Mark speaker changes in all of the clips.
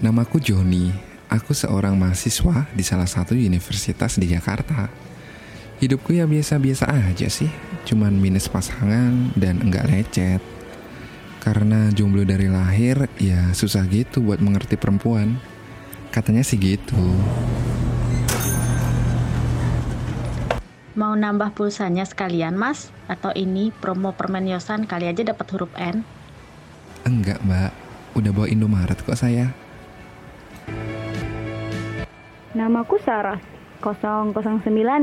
Speaker 1: Namaku Joni. Aku seorang mahasiswa di salah satu universitas di Jakarta. Hidupku ya biasa-biasa aja sih, cuman minus pasangan dan enggak lecet. Karena jomblo dari lahir, ya susah gitu buat mengerti perempuan. Katanya sih gitu.
Speaker 2: Mau nambah pulsanya sekalian, Mas? Atau ini promo permen Yosan kali aja dapat huruf N?
Speaker 1: Enggak, Mbak. Udah bawa Indomaret kok saya.
Speaker 3: Namaku Sarah, 009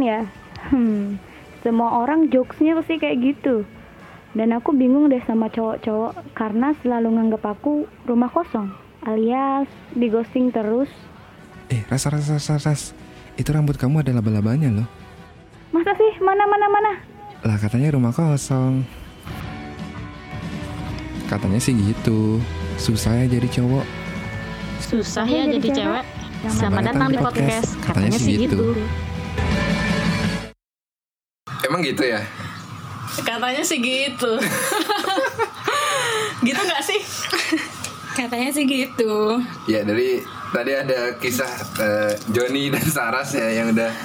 Speaker 3: ya. Hmm, semua orang jokesnya pasti kayak gitu. Dan aku bingung deh sama cowok-cowok karena selalu nganggap aku rumah kosong, alias digosting terus.
Speaker 1: Eh, ras, ras, ras, ras, ras. Itu rambut kamu ada laba-labanya loh.
Speaker 3: Masa sih? Mana, mana, mana?
Speaker 1: Lah katanya rumah kosong. Katanya sih gitu. Susah ya jadi cowok.
Speaker 2: Susah ya jadi cewek. Selamat datang di podcast.
Speaker 1: Katanya sih gitu. Emang gitu ya?
Speaker 4: Katanya sih gitu. gitu nggak sih?
Speaker 5: Katanya sih gitu.
Speaker 1: Ya dari tadi ada kisah eh, Joni dan Saras ya yang udah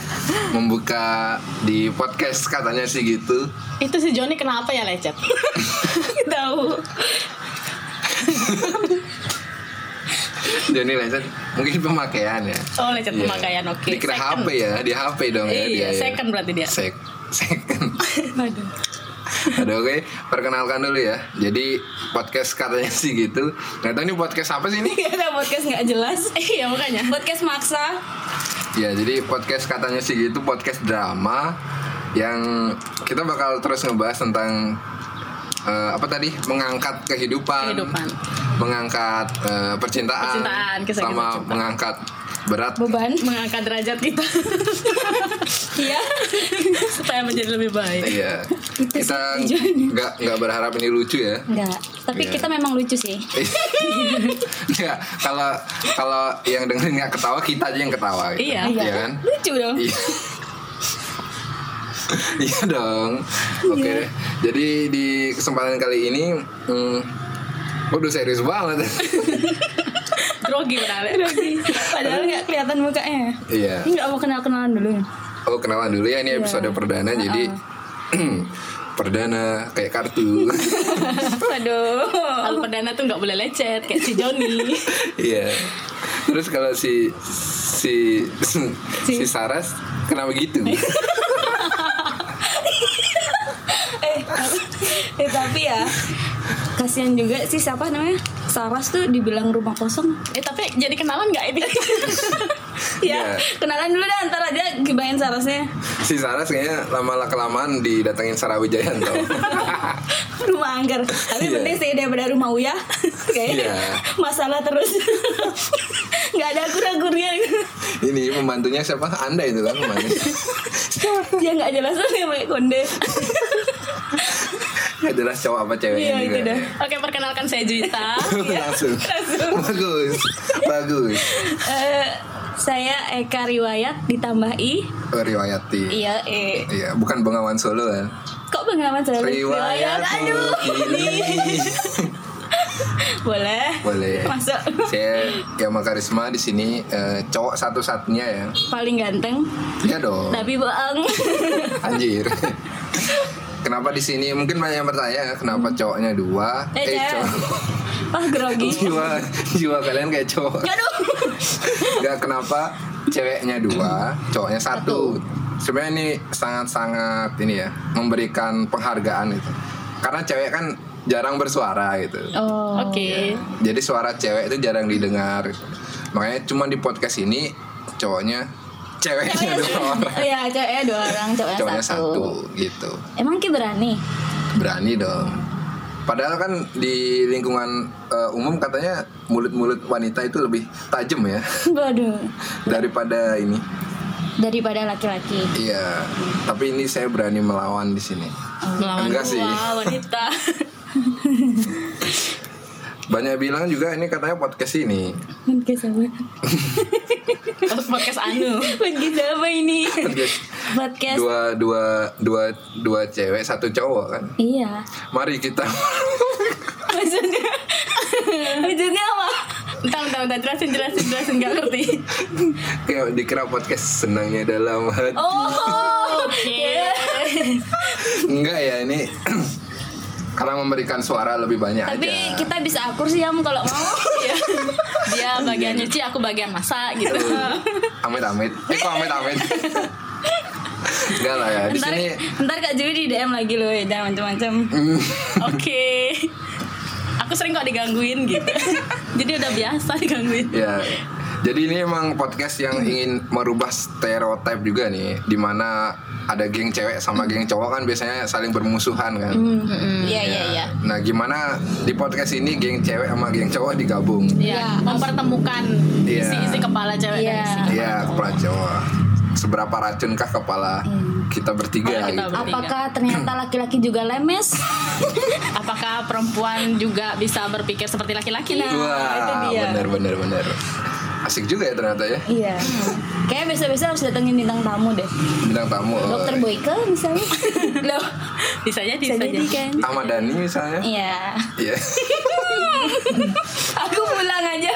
Speaker 1: membuka di podcast katanya sih gitu.
Speaker 4: Itu si Joni kenapa ya lecet?
Speaker 5: Tahu.
Speaker 1: Joni lecet mungkin pemakaian ya.
Speaker 4: Oh lecet
Speaker 1: Iya.
Speaker 4: pemakaian oke.
Speaker 1: Dikira
Speaker 4: Second.
Speaker 1: HP ya, di HP dong ya dia.
Speaker 4: Iya,
Speaker 1: ya.
Speaker 4: second berarti dia.
Speaker 1: Sek second.
Speaker 5: Waduh.
Speaker 1: Aduh oke, perkenalkan dulu ya. Jadi podcast katanya sih gitu. Nggak tahu ini podcast apa sih ini?
Speaker 5: Gak ada podcast nggak jelas.
Speaker 4: Iya makanya.
Speaker 5: Podcast maksa.
Speaker 1: Ya, jadi podcast katanya sih gitu podcast drama yang kita bakal terus ngebahas tentang eh, apa tadi? Mengangkat kehidupan.
Speaker 4: Kehidupan.
Speaker 1: Mengangkat eh, percintaan.
Speaker 4: Percintaan, kisah-kisah
Speaker 1: sama
Speaker 4: cinta.
Speaker 1: mengangkat berat
Speaker 5: Beban.
Speaker 4: Mengangkat derajat kita
Speaker 5: Iya.
Speaker 4: supaya menjadi lebih baik.
Speaker 1: Iya.
Speaker 5: Itu
Speaker 1: kita
Speaker 5: sih tujuannya.
Speaker 1: nggak nggak berharap ini lucu ya.
Speaker 5: Enggak. Tapi
Speaker 1: Iya.
Speaker 5: kita memang lucu sih.
Speaker 1: Iya, kalau kalau yang dengerin nggak ketawa kita aja yang ketawa. gitu.
Speaker 4: Iya.
Speaker 1: Iya kan?
Speaker 5: Lucu dong.
Speaker 1: Iya. Iya dong. Oke. deh. Jadi di kesempatan kali ini hmm, Waduh serius banget
Speaker 4: Grogi berarti.
Speaker 5: Padahal nggak kelihatan mukanya.
Speaker 1: Iya
Speaker 5: Ini nggak mau kenal kenalan dulu.
Speaker 1: Oh kenalan dulu ya ini episode perdana Jadi Perdana Kayak kartu
Speaker 5: Waduh.
Speaker 4: Kalau perdana tuh nggak boleh lecet kayak si Joni.
Speaker 1: Iya Terus kalau si Si Si Saras Kenapa gitu
Speaker 5: Eh, eh, tapi ya kasihan juga sih siapa namanya Saras tuh dibilang rumah kosong
Speaker 4: eh tapi jadi kenalan nggak ini?
Speaker 5: ya
Speaker 1: Iya.
Speaker 5: kenalan dulu dah ntar aja gibain Sarasnya
Speaker 1: Si Saras kayaknya Lama-lama kelamaan Didatengin Sarawijayanto
Speaker 5: rumah angker tapi
Speaker 1: Iya.
Speaker 5: penting sih daripada rumah uya kayaknya
Speaker 1: Iya.
Speaker 5: masalah terus nggak ada kura-kurnya
Speaker 1: Ini pembantunya siapa? Anda itu kan kemarin
Speaker 5: dia Ya, nggak jelas dia pakai konde
Speaker 1: Gak jelas cowok apa ceweknya
Speaker 5: Iya,
Speaker 1: juga.
Speaker 5: itu dah. Iya,
Speaker 4: Oke perkenalkan saya Juwita.
Speaker 1: langsung. bagus bagus
Speaker 5: Eh, saya Eka Riwayat ditambah I
Speaker 1: Oh, riwayati
Speaker 5: iya E
Speaker 1: Iya, bukan bengawan solo kan
Speaker 5: kok pengalaman saya
Speaker 1: riwayat
Speaker 5: aduh
Speaker 1: kini
Speaker 5: boleh
Speaker 1: boleh
Speaker 5: masuk
Speaker 1: saya Gama Karisma di sini eh, cowok satu-satunya ya
Speaker 5: paling ganteng
Speaker 1: iya dong
Speaker 5: tapi bohong
Speaker 1: anjir kenapa di sini mungkin banyak yang bertanya kenapa cowoknya dua
Speaker 5: Hmm. Eh, cewek.
Speaker 1: cowok
Speaker 5: oh grogi
Speaker 1: jiwa jiwa kalian kayak cowok
Speaker 5: aduh
Speaker 1: Gak kenapa ceweknya dua, cowoknya satu. Sebenarnya ini sangat-sangat ini ya memberikan penghargaan itu. Karena cewek kan jarang bersuara gitu.
Speaker 5: oh
Speaker 4: Oke.
Speaker 1: Jadi suara cewek itu jarang didengar. Makanya cuma di podcast ini cowoknya ceweknya dua orang,
Speaker 5: Oh, Iya, ceweknya dua orang, cowoknya,
Speaker 1: cowoknya
Speaker 5: satu.
Speaker 1: satu gitu.
Speaker 5: Emang Ki berani?
Speaker 1: Berani dong. Padahal kan di lingkungan eh, umum katanya mulut-mulut wanita itu lebih tajam ya
Speaker 5: Waduh,
Speaker 1: daripada ini
Speaker 5: daripada laki-laki.
Speaker 1: Iya, tapi ini saya berani melawan di sini.
Speaker 4: Melawan
Speaker 1: Enggak sih.
Speaker 4: dua wanita.
Speaker 1: Banyak bilang juga ini katanya podcast ini.
Speaker 5: Podcast apa?
Speaker 4: Podcast Anu.
Speaker 5: Podcast apa ini?
Speaker 1: Podcast
Speaker 5: Podcast.
Speaker 1: dua dua dua dua cewek satu cowok kan.
Speaker 5: Iya.
Speaker 1: Mari kita
Speaker 5: Maksudnya Maksudnya apa?
Speaker 4: Ntar
Speaker 5: bentar, bentar, bentar. Jelasin, jelasin, jelasin. Gak ngerti.
Speaker 1: Kayak dikira podcast senangnya dalam hati.
Speaker 6: Oh,
Speaker 5: Iya.
Speaker 1: Enggak ya ini karena memberikan suara lebih banyak
Speaker 6: tapi
Speaker 1: aja.
Speaker 6: kita bisa akur sih Yam kalau mau.
Speaker 5: Iya. Dia bagian nyuci, aku bagian masak gitu.
Speaker 6: Nah,
Speaker 1: Amit amit. Eh kok amit amit. Enggak lah ya di
Speaker 6: ntar,
Speaker 1: sini. Hmm.
Speaker 6: ntar Kak Juli di DM lagi loh ya, jangan macam-macam.
Speaker 5: Oke. Aku sering kok digangguin gitu. Jadi udah biasa digangguin.
Speaker 1: Ya. Jadi ini emang podcast yang ingin merubah stereotip juga nih, dimana ada geng cewek sama geng cowok kan biasanya saling bermusuhan kan.
Speaker 6: Iya, iya, iya.
Speaker 1: Nah gimana di podcast ini geng cewek sama geng cowok digabung?
Speaker 5: Iya, mempertemukan
Speaker 1: Iya.
Speaker 5: isi-isi kepala cewek
Speaker 6: Iya.
Speaker 5: dan isi
Speaker 1: Iya kepala cowok. Seberapa racunkah kepala
Speaker 6: Hmm.
Speaker 1: kita
Speaker 6: Iya,
Speaker 1: bertiga?
Speaker 5: Kepala kita
Speaker 1: gitu?
Speaker 5: ber-
Speaker 6: Apakah ternyata laki-laki juga lemes?
Speaker 5: Apakah perempuan juga bisa berpikir seperti laki-laki?
Speaker 6: Nah. itu
Speaker 1: Wah
Speaker 6: dia.
Speaker 1: bener bener bener. Asik juga ya ternyata ya
Speaker 6: Iya. Kayak besok-besok harus datengin bintang tamu deh.
Speaker 1: bintang tamu. eh,
Speaker 6: Dokter Boyke misalnya. Loh,
Speaker 5: Bisa jadi,
Speaker 6: bisa
Speaker 5: bisa
Speaker 6: jadi
Speaker 5: jadi.
Speaker 6: kan?
Speaker 1: Ahmad Dhani misalnya.
Speaker 6: Iya.
Speaker 1: Iya.
Speaker 6: Aku pulang aja.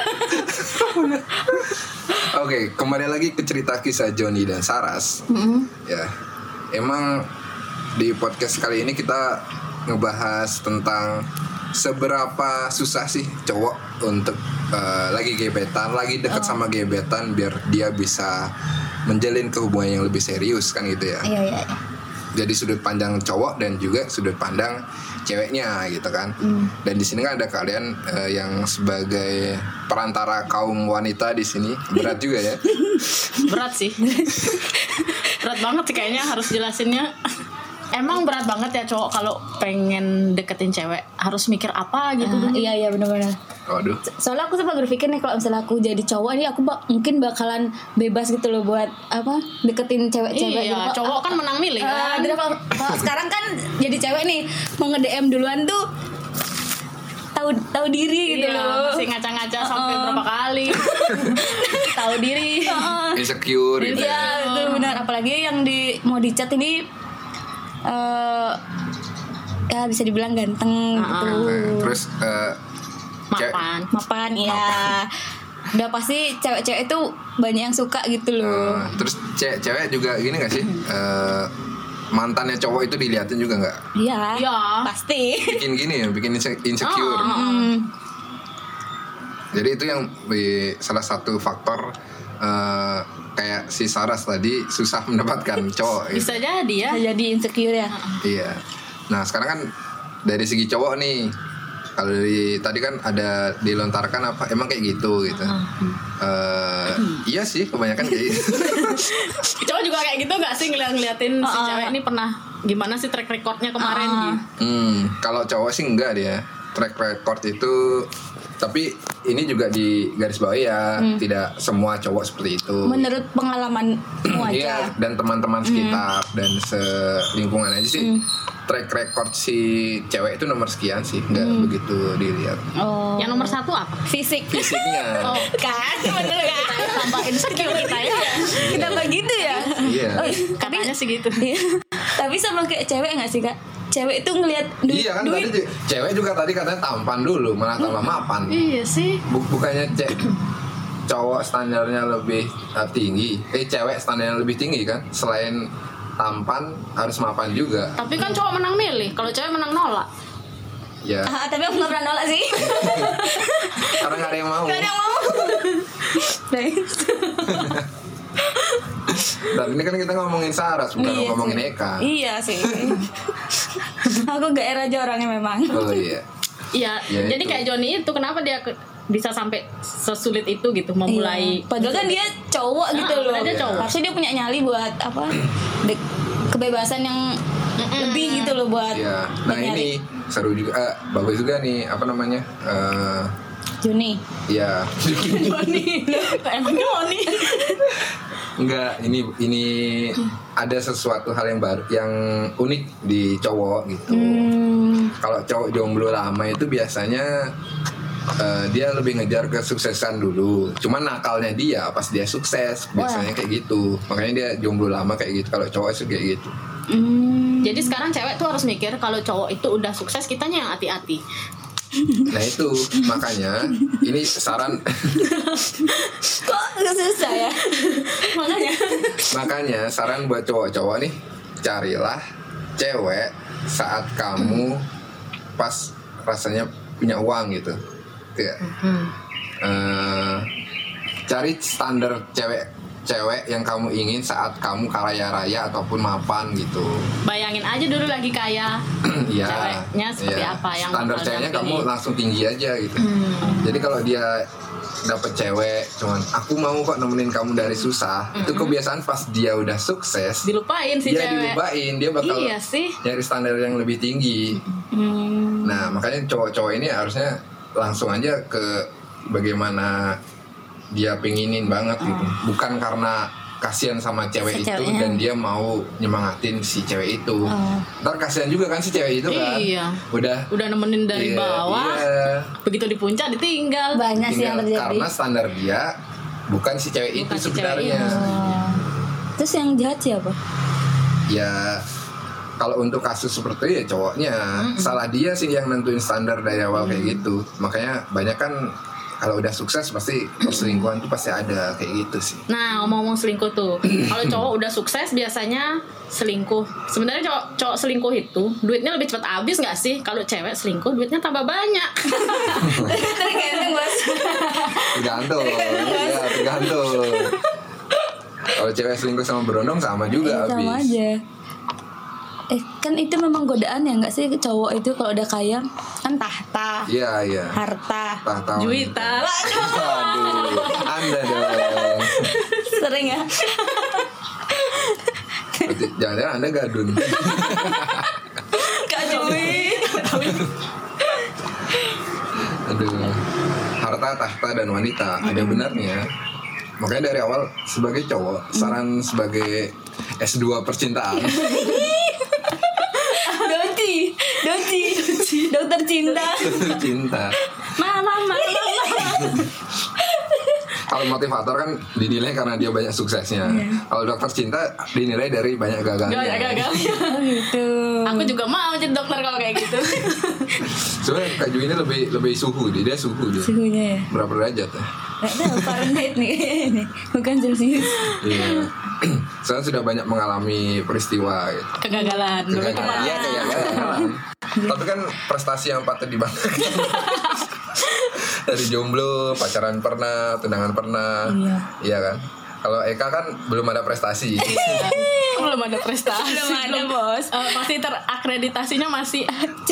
Speaker 1: Oke, kembali lagi ke cerita kisah Joni dan Saras.
Speaker 6: Mm-hmm.
Speaker 1: Ya, emang di podcast kali ini kita ngebahas tentang seberapa susah sih cowok untuk eh, lagi gebetan, lagi
Speaker 6: Oh.
Speaker 1: deket sama gebetan biar dia bisa menjalin kehubungan yang lebih serius kan gitu ya.
Speaker 6: Iya, iya.
Speaker 1: Jadi sudut pandang cowok dan juga sudut pandang ceweknya gitu kan.
Speaker 6: Mm.
Speaker 1: Dan di sini kan ada kalian eh, yang sebagai perantara kaum wanita di sini berat juga ya.
Speaker 5: Berat sih. berat banget sih kayaknya harus jelasinnya. Emang berat banget ya cowok kalau pengen deketin cewek harus mikir apa gitu.
Speaker 6: Ah, iya, iya benar-benar.
Speaker 1: Waduh.
Speaker 6: soalnya aku sempat berpikir nih kalau misalnya aku jadi cowok nih aku bak- mungkin bakalan bebas gitu loh buat apa deketin cewek-cewek gitu.
Speaker 5: Iya,
Speaker 6: Kok-
Speaker 5: cowok kan menang milih
Speaker 6: Ah,
Speaker 5: kan.
Speaker 6: dan kalau- kalau sekarang kan jadi cewek nih mau nge DM duluan tuh tahu tahu diri gitu
Speaker 5: Iya,
Speaker 6: loh
Speaker 5: masih ngaca-ngaca sampai berapa kali. Tahu diri.
Speaker 1: Insecure gitu. ya.
Speaker 6: Iya itu benar apalagi yang di mau dicat ini eh ya bisa dibilang ganteng gitu
Speaker 5: Ah,
Speaker 1: Nah, Terus eh, cewek-
Speaker 5: Mapan.
Speaker 6: mapan
Speaker 5: Iya.
Speaker 6: ya udah pasti cewek-cewek itu banyak yang suka gitu loh
Speaker 1: eh, terus ce- cewek juga gini gak sih? Eh, mantannya cowok itu diliatin juga nggak?
Speaker 6: Iya.
Speaker 5: Iya.
Speaker 6: Pasti. Hmm.
Speaker 1: Bikin gini ya, bikin inse- insecure.
Speaker 6: oh.
Speaker 1: Jadi itu yang eh, salah satu faktor eh, kayak si Saras tadi susah mendapatkan cowok. gitu.
Speaker 5: Bisa jadi ya.
Speaker 6: Jadi insecure ya.
Speaker 1: Iya. Nah sekarang kan dari segi cowok nih, kalau dari tadi kan ada dilontarkan apa emang kayak gitu gitu. Eh, iya sih kebanyakan kayak gitu.
Speaker 5: Cowok juga kayak gitu gak sih ngeliat-ngeliatin si cewek ini pernah gimana sih track recordnya kemarin gitu.
Speaker 1: Hmm, kalau cowok sih enggak dia. Track record itu tapi ini juga di garis bawah ya, tidak semua cowok seperti itu.
Speaker 6: Hmm. Menurut pengalaman
Speaker 1: Iya,
Speaker 6: aja. Hmm.
Speaker 1: dan teman-teman sekitar dan selingkungan aja sih. Track record si cewek itu nomor sekian sih, enggak
Speaker 6: Hmm.
Speaker 1: begitu dilihat
Speaker 6: Oh.
Speaker 5: Yang nomor satu apa?
Speaker 6: fisik.
Speaker 1: fisiknya.
Speaker 6: kan bener kan
Speaker 5: Tambah insecure kita ya.
Speaker 6: kenapa gitu ya
Speaker 1: Iya.
Speaker 6: Oh, tapi
Speaker 5: Katanya sih gitu.
Speaker 6: tapi sama kayak cewek nggak sih kak cewek tuh ngelihat duit
Speaker 1: Iya kan
Speaker 6: duit Hmm.
Speaker 1: tadi cewek juga tadi katanya tampan dulu, malah tambah mapan.
Speaker 5: Iya sih.
Speaker 1: Bu- bukannya cek cowok standarnya lebih eh, tinggi eh cewek standarnya lebih tinggi kan selain tampan harus mapan juga
Speaker 5: Tapi kan cowok menang milih, kalau cewek menang nolak.
Speaker 1: ya
Speaker 6: Ah, tapi aku nggak pernah nolak sih
Speaker 1: karena nggak ada yang mau
Speaker 6: nggak ada yang mau Nice.
Speaker 1: dan ini kan kita ngomongin Saras bukan
Speaker 6: Iya
Speaker 1: ngomongin
Speaker 6: sih.
Speaker 1: Eka
Speaker 6: iya sih aku gak era aja orangnya memang
Speaker 1: oh iya
Speaker 5: Iya.
Speaker 1: Ya,
Speaker 5: jadi
Speaker 1: itu.
Speaker 5: kayak Joni itu kenapa dia ke- bisa sampai sesulit itu gitu memulai
Speaker 6: Iya. padahal kan dia cowok
Speaker 5: Ah,
Speaker 6: gitu loh
Speaker 5: padahal dia cowok.
Speaker 6: harusnya dia punya nyali buat apa de- kebebasan yang lebih gitu loh buat
Speaker 1: iya nah
Speaker 6: buat nyari.
Speaker 1: ini seru juga eh, bagus juga nih apa namanya Eh,
Speaker 6: Juni
Speaker 1: ya
Speaker 5: Joni. Emang Joni.
Speaker 1: Enggak, ini ini ada sesuatu hal yang baru yang unik di cowok gitu. Kalau cowok jomblo lama itu biasanya eh, dia lebih ngejar kesuksesan dulu. Cuman nakalnya dia pas dia sukses biasanya kayak gitu. Makanya dia jomblo lama kayak gitu. Kalau cowok itu kayak gitu.
Speaker 5: Jadi sekarang cewek tuh harus mikir kalau cowok itu udah sukses kitanya yang hati-hati.
Speaker 1: Nah itu makanya ini saran
Speaker 6: Kok susah ya? Makanya.
Speaker 1: makanya saran buat cowok-cowok nih carilah cewek saat kamu pas rasanya punya uang gitu. Kayak,
Speaker 5: Mm-hmm.
Speaker 1: eh, cari standar cewek cewek yang kamu ingin saat kamu kaya raya ataupun mapan gitu.
Speaker 5: Bayangin aja dulu lagi kaya.
Speaker 1: Iya.
Speaker 5: Ceweknya seperti
Speaker 1: iya.
Speaker 5: apa yang
Speaker 1: standar
Speaker 5: bakal Mm.
Speaker 1: ceweknya
Speaker 5: kamu
Speaker 1: kamu
Speaker 5: pilih?
Speaker 1: langsung tinggi aja gitu. Jadi kalau dia dapet cewek cuman aku mau kok nemenin kamu dari susah.
Speaker 5: Mm-hmm.
Speaker 1: Itu kebiasaan pas dia udah sukses
Speaker 5: Dilupain sih
Speaker 1: dia
Speaker 5: cewek.
Speaker 1: Iya, dilupain, dia bakal
Speaker 5: Iya sih. Hmm.
Speaker 1: nyari standar yang lebih tinggi. Nah, makanya cowok-cowok ini harusnya langsung aja ke bagaimana dia pinginin banget
Speaker 5: Oh.
Speaker 1: gitu. Bukan karena kasihan sama cewek
Speaker 6: Si
Speaker 1: itu
Speaker 6: ceweknya.
Speaker 1: dan dia mau nyemangatin si cewek itu. Ntar kasihan juga kan si cewek itu kan.
Speaker 5: Oh. Iya.
Speaker 1: Udah
Speaker 5: Udah nemenin dari
Speaker 1: Iya,
Speaker 5: bawah.
Speaker 1: iya.
Speaker 5: Begitu di puncak ditinggal.
Speaker 6: Banyak sih yang
Speaker 1: Tinggal
Speaker 6: terjadi.
Speaker 1: karena standar dia bukan si cewek
Speaker 5: Bukan
Speaker 1: itu
Speaker 5: si cewek
Speaker 1: sebenarnya.
Speaker 5: itu.
Speaker 6: Oh. Terus yang jahat siapa?
Speaker 1: ya kalau untuk kasus seperti itu ya cowoknya salah dia sih yang nentuin standar dari awal kayak gitu makanya banyak kan kalau udah sukses pasti perselingkuhan tuh pasti ada kayak gitu sih
Speaker 5: Nah, ngomong-ngomong selingkuh tuh. Kalau cowok udah sukses biasanya selingkuh. Sebenarnya cowok, cowok selingkuh itu duitnya lebih cepat habis nggak sih? Kalau cewek selingkuh duitnya tambah banyak.
Speaker 6: Tergantung bos.
Speaker 1: tergantung ya tergantung kalau cewek selingkuh sama berondong sama juga
Speaker 6: Iya, sama
Speaker 1: habis
Speaker 6: aja. Eh kan itu memang godaan ya nggak sih cowok itu kalau udah kaya kan tahta,
Speaker 1: iya iya
Speaker 6: harta,
Speaker 1: tahta
Speaker 5: Juwita.
Speaker 1: Aduh, anda dong
Speaker 6: sering ya.
Speaker 1: Berarti jangan-jangan anda gadun
Speaker 6: Kak Jui.
Speaker 1: Aduh. Harta, tahta, dan wanita. Ada benarnya. Makanya dari awal sebagai cowok, saran sebagai S2 percintaan.
Speaker 6: Doti, Doti, dokter cinta.
Speaker 1: cinta.
Speaker 6: Mama, mama,
Speaker 1: Kalau motivator kan dinilai karena dia banyak suksesnya. Kalau dokter cinta dinilai dari banyak gagalnya.
Speaker 5: Gak, gak, gak.
Speaker 6: gitu.
Speaker 5: Aku juga mau jadi dokter kalau kayak gitu.
Speaker 1: Sebenarnya Kak Ju ini lebih lebih suhu dia, dia suhu dia.
Speaker 6: Suhunya ya.
Speaker 1: Berapa derajat ya?
Speaker 6: Gak tahu Fahrenheit nih, ini bukan Celsius.
Speaker 1: Iya. Soalnya sudah banyak mengalami peristiwa gitu.
Speaker 5: Kegagalan. demi
Speaker 1: Kegagalan. Iya, kegagalan. Tapi kan prestasi yang patut dibanggakan. Dari jomblo, pacaran pernah, tunangan pernah.
Speaker 6: Iya.
Speaker 1: kan? Kalau Eka kan belum ada prestasi.
Speaker 5: belum ada prestasi
Speaker 6: Belum ada, Bos.
Speaker 5: Eh, masih terakreditasinya masih C,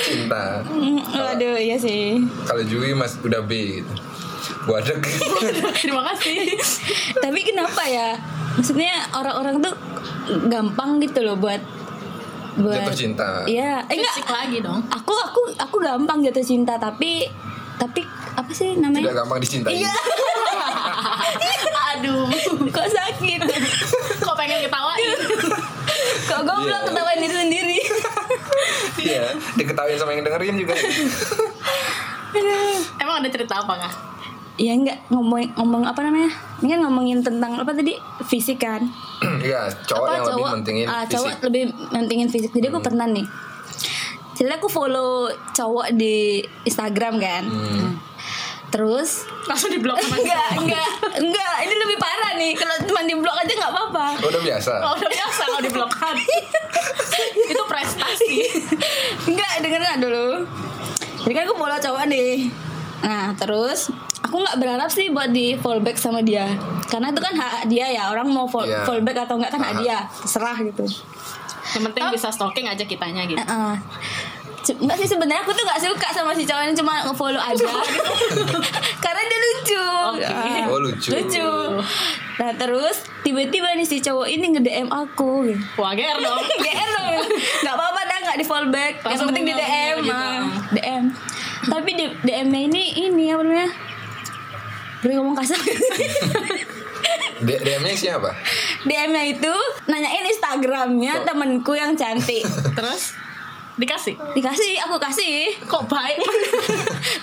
Speaker 1: Cinta.
Speaker 6: Waduh, iya sih.
Speaker 1: Kalau Jui mas udah B gitu. Buadek.
Speaker 5: terima kasih
Speaker 6: Tapi kenapa ya? Maksudnya orang-orang tuh gampang gitu loh buat buat
Speaker 1: Jatuh cinta.
Speaker 6: Iya, eh enggak.
Speaker 5: fisik lagi dong
Speaker 6: Aku aku aku gampang jatuh cinta tapi tapi apa sih namanya?
Speaker 1: Tidak gampang dicintai.
Speaker 6: Iya.
Speaker 5: aduh
Speaker 6: Kok sakit?
Speaker 5: kok pengen ketawain
Speaker 6: Kok goblok
Speaker 1: Iya.
Speaker 6: ketawain diri sendiri?
Speaker 1: Iya. Diketahui sama yang dengerin juga.
Speaker 5: emang ada cerita apa nggak
Speaker 6: ya enggak ngomong ngomong apa namanya? Ini kan ngomongin tentang apa tadi? Fisik kan?
Speaker 1: Iya, cowok
Speaker 6: apa
Speaker 1: yang lebih mentingin
Speaker 6: ah, cowok
Speaker 1: fisik. Hmm.
Speaker 6: lebih mentingin fisik jadi aku pernah nih jadi aku follow cowok di Instagram kan
Speaker 1: Hmm.
Speaker 6: terus
Speaker 5: langsung diblok sama si
Speaker 6: enggak
Speaker 5: Bambang.
Speaker 6: enggak enggak ini lebih parah nih kalau cuma di blok aja nggak apa-apa
Speaker 1: Oh, udah biasa.
Speaker 5: kalau udah biasa kalau diblokan itu prestasi
Speaker 6: enggak dengerin lah dulu jadi kan aku follow cowok nih nah terus aku nggak berharap sih buat di fallback sama dia karena itu kan hak dia ya orang mau fall,
Speaker 1: Iya.
Speaker 6: fallback atau enggak kan hak
Speaker 1: Aha.
Speaker 6: dia terserah gitu
Speaker 5: yang penting bisa stalking aja kitanya gitu
Speaker 6: Heeh. C- Enggak sih sebenarnya aku tuh gak suka sama si cowok ini cuma ngefollow aja gitu. Karena dia lucu.
Speaker 5: Oke.
Speaker 6: Ah,
Speaker 1: Oh, lucu.
Speaker 6: Lucu. Nah, terus tiba-tiba nih si cowok ini nge-DM aku gitu.
Speaker 5: wager dong
Speaker 6: GR dong. Gak apa-apa dah gak di fallback. Yang
Speaker 5: Langsung
Speaker 6: penting di
Speaker 5: tinggal
Speaker 6: DM.
Speaker 5: gitu.
Speaker 6: ah. DM. Tapi di DM-nya ini ini apa namanya? Boleh ngomong kasar
Speaker 1: D- DM-nya siapa?
Speaker 6: DM-nya itu nanyain Instagramnya temenku yang cantik
Speaker 5: terus dikasih
Speaker 6: Dikasih, aku kasih
Speaker 5: kok baik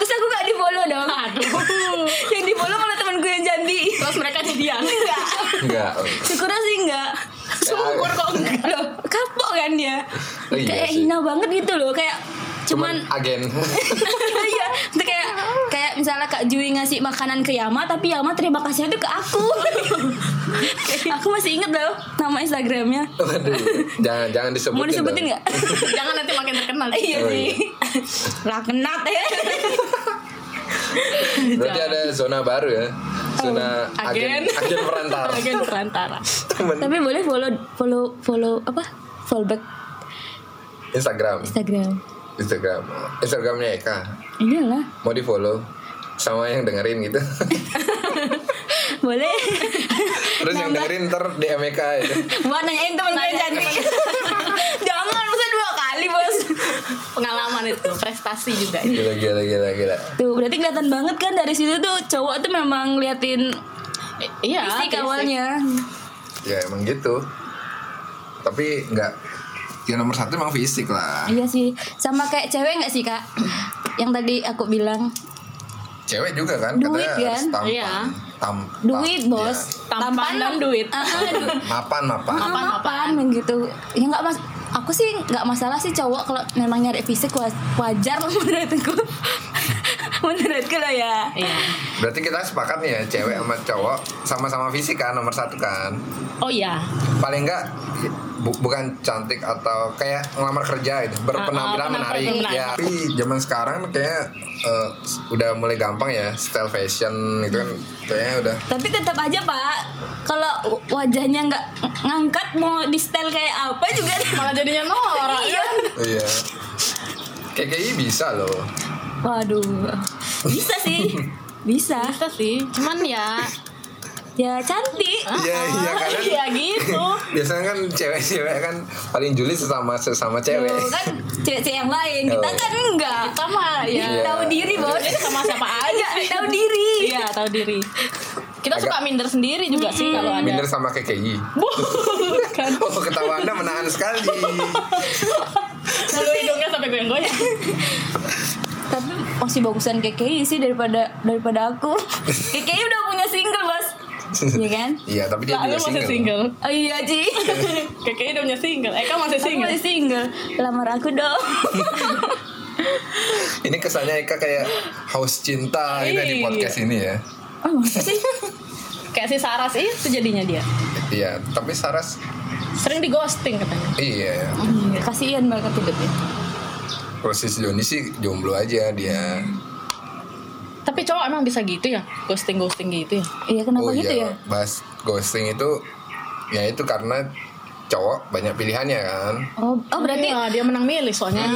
Speaker 6: Terus aku gak di follow dong
Speaker 5: aduh
Speaker 6: yang di follow malah temen gue yang jadi
Speaker 5: terus mereka jadian
Speaker 6: enggak
Speaker 1: Enggak.
Speaker 6: syukurnya sih enggak
Speaker 5: syukur kok enggak
Speaker 6: loh kapok kan dia
Speaker 1: Oh, iya
Speaker 6: kayak
Speaker 1: sih.
Speaker 6: hina banget gitu loh kayak cuman
Speaker 1: agen
Speaker 6: iya itu kayak kayak misalnya kak Jui ngasih makanan ke Yama tapi Yama terima kasihnya tuh ke aku aku masih inget loh nama Instagramnya
Speaker 1: Waduh, jangan jangan disebutin.
Speaker 6: mau disebutin
Speaker 1: dong.
Speaker 6: nggak
Speaker 5: Jangan nanti makin terkenal.
Speaker 6: iya
Speaker 1: Oh,
Speaker 6: sih
Speaker 1: iya.
Speaker 6: lah kenat ya
Speaker 1: Berarti ada zona baru ya. Zona
Speaker 5: Oh, Agen.
Speaker 1: agen agen perantara.
Speaker 5: Agen perantara.
Speaker 1: Temen
Speaker 6: tapi boleh follow follow follow apa fallback
Speaker 1: Instagram.
Speaker 6: Instagram
Speaker 1: Instagram. Instagramnya Eka.
Speaker 6: iyalah
Speaker 1: Mau di follow sama yang dengerin gitu.
Speaker 6: boleh
Speaker 1: Terus yang
Speaker 5: Nah,
Speaker 1: dengerin ntar DM Eka ya.
Speaker 6: buat nanyain temen gue yang cantik jangan masa dua kali bos
Speaker 5: Pengalaman itu, prestasi juga.
Speaker 1: Gila gila gila gila.
Speaker 6: tuh berarti kelihatan banget kan dari situ tuh cowok tuh memang ngeliatin
Speaker 5: I- Iya.
Speaker 6: Ya, fisik
Speaker 5: fisik.
Speaker 6: awalnya
Speaker 1: Ya emang gitu. Tapi nggak Ya nomor satu emang fisik lah.
Speaker 6: Iya sih, sama kayak cewek nggak sih kak? Yang tadi aku bilang
Speaker 1: Cewek juga kan
Speaker 6: Duit,
Speaker 1: katanya harus
Speaker 6: kan?
Speaker 1: tampan.
Speaker 5: Iya.
Speaker 1: Tam,
Speaker 6: duit
Speaker 1: tam-
Speaker 6: bos,
Speaker 5: Tampan dan iya. duit.
Speaker 6: Ah, ah, du-
Speaker 1: ya. Mapan mapan.
Speaker 6: ah, mapan gitu. Ya nggak mas, aku sih nggak masalah sih cowok kalau memang nyari fisik wa- wajar lah menurutku. menurutku lah ya.
Speaker 5: Iya.
Speaker 1: Berarti kita sepakat nih ya cewek sama cowok sama-sama fisik kan nomor satu kan.
Speaker 5: Oh iya.
Speaker 1: Paling enggak bu- bukan cantik atau kayak ngelamar kerja gitu berpenampilan
Speaker 5: Ah, ah,
Speaker 1: menarik
Speaker 5: penampilan menarik.
Speaker 1: ya tapi zaman sekarang kayak eh, udah mulai gampang ya style fashion gitu kan kayaknya udah
Speaker 6: Tapi tetap aja pak, kalau wajahnya nggak ng- ngangkat mau di style kayak apa juga
Speaker 5: Malah jadinya norak
Speaker 6: Iya.
Speaker 5: ya.
Speaker 1: iya kayak kayaknya bisa loh
Speaker 6: Waduh, bisa sih, bisa.
Speaker 5: Bisa sih. Cuman ya.
Speaker 6: Ya cantik.
Speaker 1: iya iya kan
Speaker 5: Ah, Iya gitu.
Speaker 1: biasanya kan cewek-cewek kan paling juli sesama sesama cewek
Speaker 6: Tuh, kan cewek-cewek yang lain kita
Speaker 1: Oh.
Speaker 6: kan enggak
Speaker 5: Kita mah ya.
Speaker 1: Iya.
Speaker 6: tahu diri bos
Speaker 5: Jadi sama siapa aja.
Speaker 6: tahu diri
Speaker 5: Iya, tahu diri. Kita suka minder sendiri juga sih kalau ada.
Speaker 1: minder sama KKI
Speaker 5: Bukan.
Speaker 1: oh ketawa anda menahan sekali
Speaker 5: Lalu hidungnya sampai goyang-goyang.
Speaker 6: tapi masih bagusan KKI sih daripada daripada aku KKI udah punya single bos Iya kan
Speaker 1: iya tapi dia juga
Speaker 5: Lalu masih
Speaker 1: single
Speaker 5: single.
Speaker 6: oh iya Ci
Speaker 5: Kakek udah punya single. Eka masih
Speaker 6: aku
Speaker 5: single.
Speaker 6: masih single lamar aku dong
Speaker 1: Ini kesannya Eka kayak haus cinta gitu di
Speaker 5: Iya.
Speaker 1: podcast ini ya.
Speaker 6: oh masa sih
Speaker 5: Kayak si Saras itu jadinya dia.
Speaker 1: Iya, tapi Saras
Speaker 5: Sering di ghosting katanya.
Speaker 1: iya.
Speaker 6: kasihan banget hidupnya
Speaker 1: Proses Joni sih jomblo aja dia.
Speaker 5: Tapi cowok emang bisa gitu ya? Ghosting-ghosting gitu ya?
Speaker 6: iya kenapa gitu ya
Speaker 1: Oh Bahas ghosting itu ya itu karena cowok banyak pilihannya kan.
Speaker 6: oh oh berarti
Speaker 5: Iya, dia menang milih soalnya.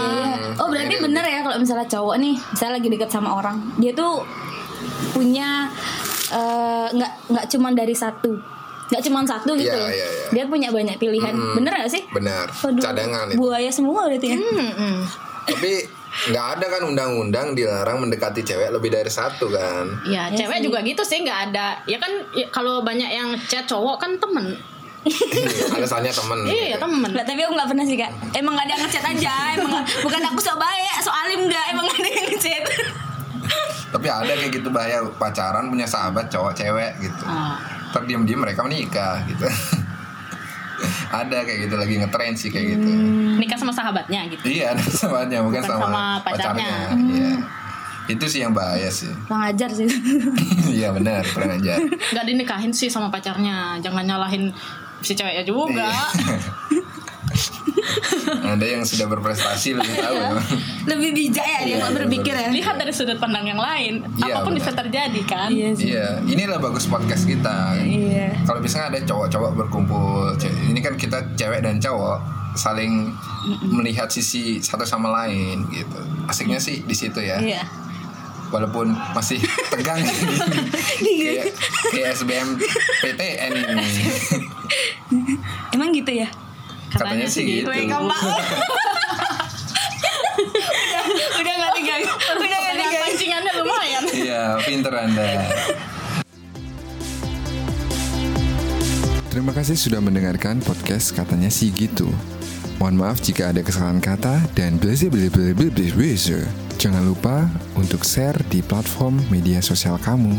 Speaker 6: Oh berarti
Speaker 1: Iya.
Speaker 6: bener ya kalau misalnya cowok nih, misalnya lagi deket sama orang, dia tuh punya eh, nggak nggak cuman dari satu, nggak cuman satu gitu.
Speaker 1: Iya, iya, iya.
Speaker 6: Dia punya banyak pilihan.
Speaker 1: Mm-mm.
Speaker 6: Bener gak sih?
Speaker 1: Benar.
Speaker 6: Waduh,
Speaker 1: Cadangan itu.
Speaker 6: Buaya semua berarti ya.
Speaker 5: Mm-mm.
Speaker 1: Tapi nggak ada kan undang-undang dilarang mendekati cewek lebih dari satu kan.
Speaker 5: Ya,
Speaker 6: Iya
Speaker 5: cewek
Speaker 6: sih.
Speaker 5: juga gitu sih nggak ada. Ya kan ya, kalau banyak yang chat cowok kan temen.
Speaker 1: Iya, Alasannya temen.
Speaker 5: Iya,
Speaker 1: gitu.
Speaker 5: temen.
Speaker 6: Nggak, tapi aku nggak pernah sih kak. Emang gak ada yang ngechat aja. Emang nggak- bukan aku sok baik, sok alim nggak. Emang gak ada yang ngechat.
Speaker 1: Tapi ada kayak gitu bahaya pacaran punya sahabat cowok cewek gitu.
Speaker 5: Ah.
Speaker 1: Ntar diem-diem mereka menikah gitu. ada kayak gitu lagi ngetrend sih kayak gitu.
Speaker 5: Nikah sama sahabatnya gitu.
Speaker 1: Iya, ada sahabatnya bukan,
Speaker 5: Hmm. Bukan
Speaker 1: sama,
Speaker 5: sama pacarnya. Hmm.
Speaker 1: pacarnya. Iya. Itu sih yang bahaya sih.
Speaker 6: Pengajar sih.
Speaker 1: Iya benar, kurang aja.
Speaker 5: Nggak dinikahin sih sama pacarnya. Jangan nyalahin si ceweknya juga.
Speaker 1: Iya. Ada yang sudah berprestasi lebih tahu.
Speaker 5: Iya.
Speaker 6: Lebih bijak ya dia
Speaker 1: Iya,
Speaker 6: nggak
Speaker 1: iya,
Speaker 6: berpikir ya.
Speaker 5: Lihat dari sudut pandang yang lain.
Speaker 1: Iya,
Speaker 5: Apapun
Speaker 1: benar.
Speaker 5: bisa terjadi kan.
Speaker 6: Iya sih.
Speaker 1: Iya, inilah bagus podcast kita.
Speaker 6: Iya.
Speaker 1: Kalau biasanya ada cowok-cowok berkumpul, ce- ini kan kita cewek dan cowok saling melihat sisi satu sama lain gitu. Asiknya sih di situ ya.
Speaker 6: Iya.
Speaker 1: walaupun masih tegang kayak, kayak SBM PTN ini
Speaker 6: Emang gitu ya.
Speaker 1: katanya, sih gitu
Speaker 6: Udah nggak digang. Udah nggak
Speaker 5: Dengan
Speaker 6: digang.
Speaker 5: pancingannya lumayan.
Speaker 1: iya pinter anda
Speaker 7: Terima kasih sudah mendengarkan podcast katanya sih gitu. Mohon maaf jika ada kesalahan kata dan blazer blazer blazer blazer. Jangan lupa untuk share di platform media sosial kamu.